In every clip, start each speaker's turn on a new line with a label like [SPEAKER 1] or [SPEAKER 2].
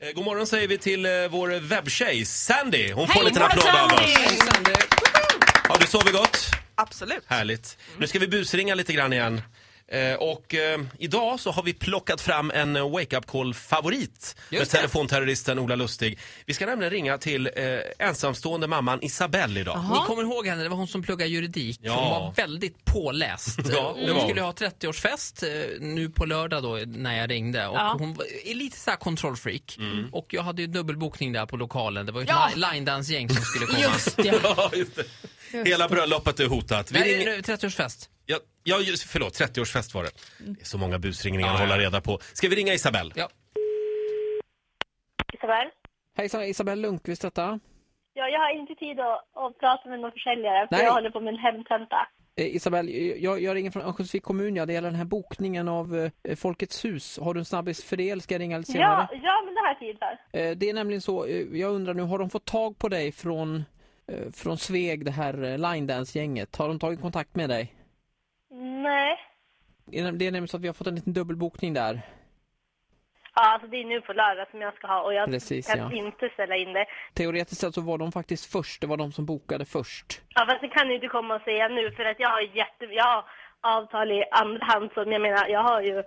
[SPEAKER 1] Eh, God morgon säger vi till eh, vår webbtjej Sandy. Hon får
[SPEAKER 2] Hej,
[SPEAKER 1] en liten
[SPEAKER 2] god
[SPEAKER 1] applåd av
[SPEAKER 2] Sandy!
[SPEAKER 1] oss. Har du sovit gott?
[SPEAKER 3] Absolut.
[SPEAKER 1] Härligt. Nu ska vi busringa lite grann igen. Eh, och eh, idag så har vi plockat fram en eh, wake up call-favorit med
[SPEAKER 4] Just det.
[SPEAKER 1] telefonterroristen Ola Lustig. Vi ska nämligen ringa till eh, ensamstående mamman Isabelle idag.
[SPEAKER 4] Ni kommer ihåg henne, det var hon som pluggade juridik.
[SPEAKER 1] Ja.
[SPEAKER 4] Hon var väldigt påläst.
[SPEAKER 1] Ja, det
[SPEAKER 4] hon
[SPEAKER 1] var
[SPEAKER 4] skulle
[SPEAKER 1] hon.
[SPEAKER 4] ha 30-årsfest eh, nu på lördag då när jag ringde. Och
[SPEAKER 2] Ja.
[SPEAKER 4] Hon var- är lite så här kontrollfreak. Och jag hade ju dubbelbokning där på lokalen. Det var ju
[SPEAKER 2] Ja.
[SPEAKER 4] ett li- line-dance-gäng som skulle komma.
[SPEAKER 2] Just det.
[SPEAKER 1] Ja, just det. Hela bröllopet är hotat. Vi
[SPEAKER 4] Nej,
[SPEAKER 1] ringer...
[SPEAKER 4] nu, 30-årsfest.
[SPEAKER 1] ja, ja, just- förlåt, 30-årsfest var det. Det är så många busringningar
[SPEAKER 4] Mm. Ja,
[SPEAKER 1] att hålla
[SPEAKER 4] ja.
[SPEAKER 1] reda på. Ska vi ringa Isabelle?
[SPEAKER 4] Ja.
[SPEAKER 5] Isabel?
[SPEAKER 6] Hejsan, Isabelle Lundqvist detta.
[SPEAKER 5] Ja, jag har inte tid att, att prata med någon försäljare för
[SPEAKER 6] Nej.
[SPEAKER 5] jag håller på med en hemtenta.
[SPEAKER 6] Eh, Isabelle, eh, jag, jag ringer från Örnsköldsvik kommun. Ja, det gäller den här bokningen av eh, Folkets hus. Har du en snabbis för det eller ska jag ringa lite senare?
[SPEAKER 5] Ja, ja, men det har jag tid för.
[SPEAKER 6] Eh, det är nämligen så, eh, jag undrar nu, har de fått tag på dig från, eh, från Sveg, det här eh, Linedance-gänget? Har de tagit kontakt med dig?
[SPEAKER 5] Nej.
[SPEAKER 6] Det är näm- det är nämligen så att vi har fått en liten dubbelbokning där.
[SPEAKER 5] Ja, alltså det är nu på lördag som jag ska ha och jag
[SPEAKER 6] Precis,
[SPEAKER 5] kan
[SPEAKER 6] ja.
[SPEAKER 5] inte ställa in det.
[SPEAKER 6] Teoretiskt sett så var de faktiskt först, det var de som bokade först.
[SPEAKER 5] Ja, fast det kan du inte komma och säga nu för att jag har jätte... Jag har avtal i andra hand som jag menar, jag har ju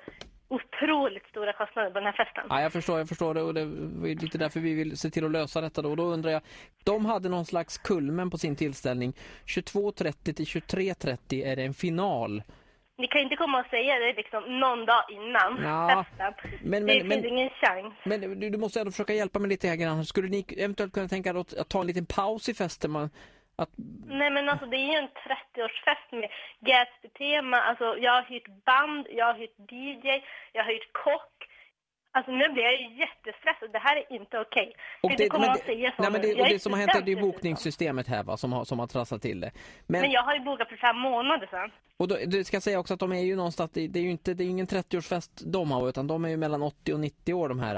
[SPEAKER 5] otroligt stora kostnader på den här festen.
[SPEAKER 6] Ja, jag förstår, jag förstår det och det var ju lite därför vi vill se till att lösa detta då. Och då undrar jag, de hade någon slags kulmen på sin tillställning. 22.30 till 23.30 är det en final.
[SPEAKER 5] Ni kan ju inte komma och säga det liksom någon dag innan
[SPEAKER 6] Ja,
[SPEAKER 5] festen.
[SPEAKER 6] men-
[SPEAKER 5] det
[SPEAKER 6] men-
[SPEAKER 5] finns
[SPEAKER 6] men-
[SPEAKER 5] ingen chans.
[SPEAKER 6] Men du, du måste ändå försöka hjälpa mig lite här grann. Skulle ni eventuellt kunna tänka er att, att ta en liten paus i festen? Man, att,
[SPEAKER 5] Nej men alltså det är ju en 30-årsfest med Gatsby-tema. Alltså jag har hyrt band, jag har hyrt DJ, jag har hyrt kock. Alltså nu blir jag ju jättestressad. Det här är inte okej. Kan inte komma
[SPEAKER 6] men
[SPEAKER 5] och säga så
[SPEAKER 6] nej, men
[SPEAKER 5] nu.
[SPEAKER 6] det,
[SPEAKER 5] Jag
[SPEAKER 6] och det som har hänt är det är
[SPEAKER 5] student dessutom.
[SPEAKER 6] bokningssystemet här va, som, har, som har trasslat till det.
[SPEAKER 5] Men jag har ju bokat för fem månader sedan.
[SPEAKER 6] Och då, du ska säga också att de är ju någonstans, det det är ju inte, det är ju ingen 30-årsfest de har utan de är ju mellan 80 och 90 år de här.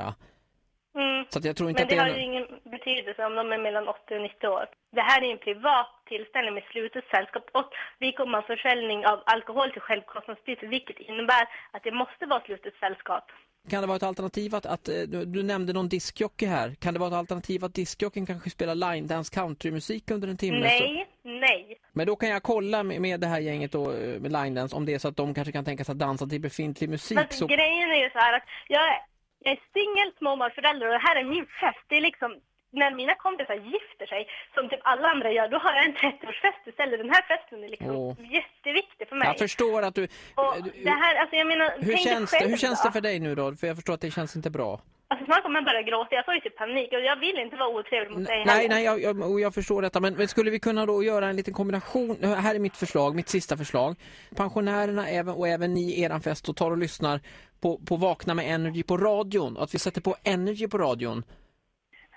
[SPEAKER 5] Mm.
[SPEAKER 6] Så att jag tror inte
[SPEAKER 5] Men
[SPEAKER 6] att
[SPEAKER 5] det
[SPEAKER 6] är
[SPEAKER 5] har
[SPEAKER 6] en-
[SPEAKER 5] ju ingen betydelse om de är mellan 80 och 90 år. Det här är en privat tillställning med slutet sällskap och vi kommer ha försäljning av alkohol till självkostnadspris vilket innebär att det måste vara slutet sällskap.
[SPEAKER 6] Kan det vara ett alternativ att, att eh, du, du nämnde någon diskjockey här, kan det vara ett alternativ att diskjockeyn kanske spelar line-dance countrymusik under en timme? Så,
[SPEAKER 5] Nej, nej.
[SPEAKER 6] men då kan jag kolla med, med det här gänget då, eh, med line-dance om det är så att de kanske kan tänka sig att dansa till befintlig musik.
[SPEAKER 5] Fast
[SPEAKER 6] Så,
[SPEAKER 5] grejen är ju så här att jag är, jag är singel småbarnsförälder och det här är min fest. Det är liksom när mina kompisar gifter sig, som typ alla andra gör, då har jag en 30-årsfest istället. Den här festen är liksom
[SPEAKER 6] Åh.
[SPEAKER 5] jätteviktig för mig.
[SPEAKER 6] jag förstår att du... eh,
[SPEAKER 5] och
[SPEAKER 6] du-
[SPEAKER 5] det här, alltså jag menar,
[SPEAKER 6] hur,
[SPEAKER 5] tänk dig
[SPEAKER 6] känns det,
[SPEAKER 5] själv
[SPEAKER 6] hur känns det
[SPEAKER 5] då.
[SPEAKER 6] för dig nu då? För jag förstår att det känns inte bra.
[SPEAKER 5] Alltså snart kommer jag börja gråta, jag får ju typ panik och jag vill inte vara otrevlig mot dig
[SPEAKER 6] Nej,
[SPEAKER 5] heller.
[SPEAKER 6] nej, jag, jag, och jag förstår detta. Men, men skulle vi kunna då göra en liten kombination? Här är mitt förslag, mitt sista förslag. Pensionärerna även, och även ni i eran fest och tar och lyssnar på, på Vakna med Energy på radion. Att vi sätter på Energy på radion.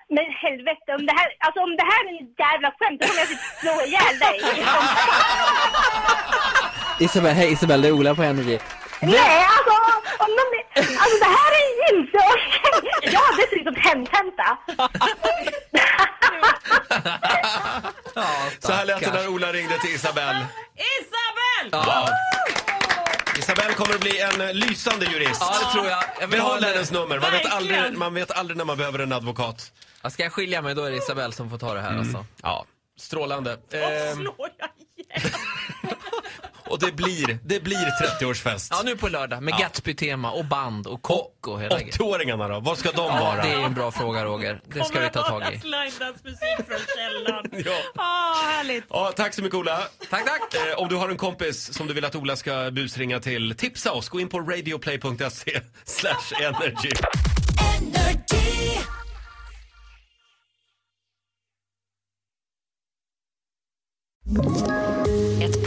[SPEAKER 5] Men helvete, om det här, alltså om det här är ett jävla skämt då kommer jag typ slå ihjäl dig.
[SPEAKER 6] Isabel, hej Isabel, det är Ola på Energy.
[SPEAKER 5] nej, alltså om de, alltså det här är ju inte okej. Jag har dessutom hemtenta.
[SPEAKER 1] Så här lät det när Ola ringde till Isabelle.
[SPEAKER 2] Isabel!
[SPEAKER 1] Ja. Isabelle kommer att bli en eh, lysande jurist.
[SPEAKER 4] Ja, det tror jag. jag
[SPEAKER 1] Behåll
[SPEAKER 4] ha en-
[SPEAKER 1] hennes nummer. Man vet,
[SPEAKER 2] Verkligen.
[SPEAKER 1] aldrig, man vet aldrig när man behöver en advokat.
[SPEAKER 4] Ja, Ska jag skilja mig, då är det Isabel som får ta det här alltså. Eh,
[SPEAKER 1] Ja, strålande.
[SPEAKER 2] Och
[SPEAKER 1] Ehm,
[SPEAKER 2] slår jag ihjäl.
[SPEAKER 1] och det blir, det blir 30-årsfest.
[SPEAKER 4] Ja, nu på lördag med Gatsby-tema och band och kock och hela grejen.
[SPEAKER 1] 80-åringarna då? Var ska de
[SPEAKER 4] Ja,
[SPEAKER 1] vara?
[SPEAKER 4] det är en bra fråga Roger. Det ska vi ta tag i.
[SPEAKER 2] musik från källaren.
[SPEAKER 1] Ja.
[SPEAKER 2] Ah, härligt.
[SPEAKER 1] Ja, tack så mycket Ola.
[SPEAKER 4] Tack, tack!
[SPEAKER 1] Eh, om du har en kompis som du vill att Ola ska busringa till, tipsa oss. Gå in på radioplay.se slash energy.
[SPEAKER 7] Ett